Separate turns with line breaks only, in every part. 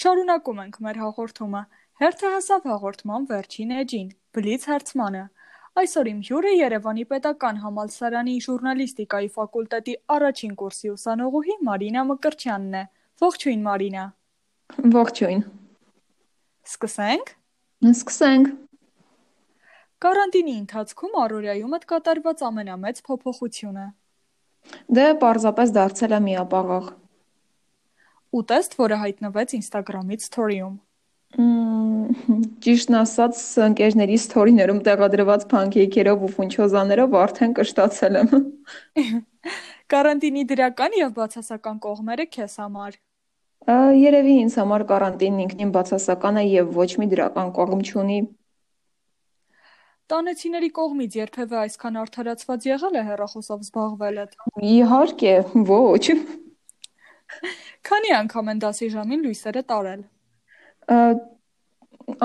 Շարունակում ենք մեր հաղորդումը։ Հերթը հասավ հաղորդման վերջին էջին՝ բլից հարցմանը։ Այսօր իմ հյուրը Երևանի Պետական Համալսարանի Ժուրնալիստիկայի ֆակուլտետի առաջին կուրսի ուսանողուհի Մարինա Մկրչյանն է։ Ողջույն Մարինա։
Ողջույն։
Սկսենք։
Սկսենք։
Կարանտինի ընթացքում առօրյայում այդ կատարված ամենամեծ փոփոխությունը։
Դե պարզապես դարձել է միապաղաղ։
Ուտեստ, որը հայտնվեց Instagram-ի story-ում։
Մմ, Ճիշտն ասած, ընկերների սթորիներում տեղադրված փանքեյքերով ու ֆունչոզաներով արդեն կշտացել եմ։
Կարանտինի դրական եւ բացասական կողմերը քեզ համար։
Ա, Երևի ինձ համար կարանտինն ինքնին բացասական է եւ ոչ մի դրական կողմ չունի։
Տանեցիների կողմից երբևէ այսքան արդարացված եղել է հերախոսով զբաղվելդ։
Իհարկե, ոչ։
Քանի անգամ են դասի ժամին լույսերը տարել։
Ա,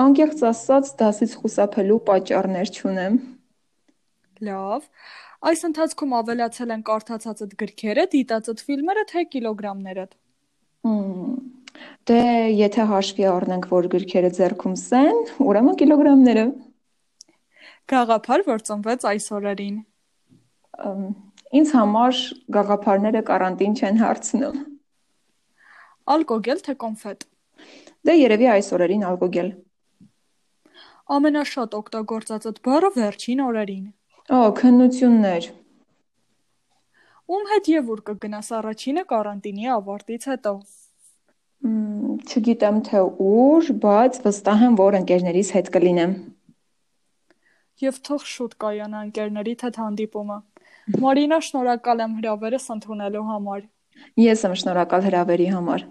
Անկեղծ ասած, դասից խուսափելու պատճառներ չունեմ։
Լավ։ Այս ընթացքում ավելացել են կարդացածդ գրքերը, դիտածդ ֆիլմերը, թե կիլոգրամներդ։
Մմ, Դե եթե հաշվի առնենք, որ գրքերը ձեռքումս են, ուրեմն կիլոգրամները։
Գաղափար, որ ծնվեց այս օրերին։
Ամ, Ինձ համար գաղափարները կարանտին չեն հարցնում։
Ալկոգել թե կոնֆետ։
Դե երևի այս օրերին ալկոգել։
Ամենաշատ օգտագործածդ բառը վերջին օրերին։
Օ, քննություններ։
Ում հետ եւ ուր կգնաս առաջինը կարանտինի ավարտից հետո։
Մմ, Չգիտեմ թե ուր, բայց վստահ եմ, որ ընկերներիս հետ կլինեմ։
Եվ թող շուտ կայանա ընկերների հետ հանդիպումը։ Մարինա, շնորհակալ եմ հրավերս ընդունելու համար։
Ես եմ շնորհակալ հրավերի համար։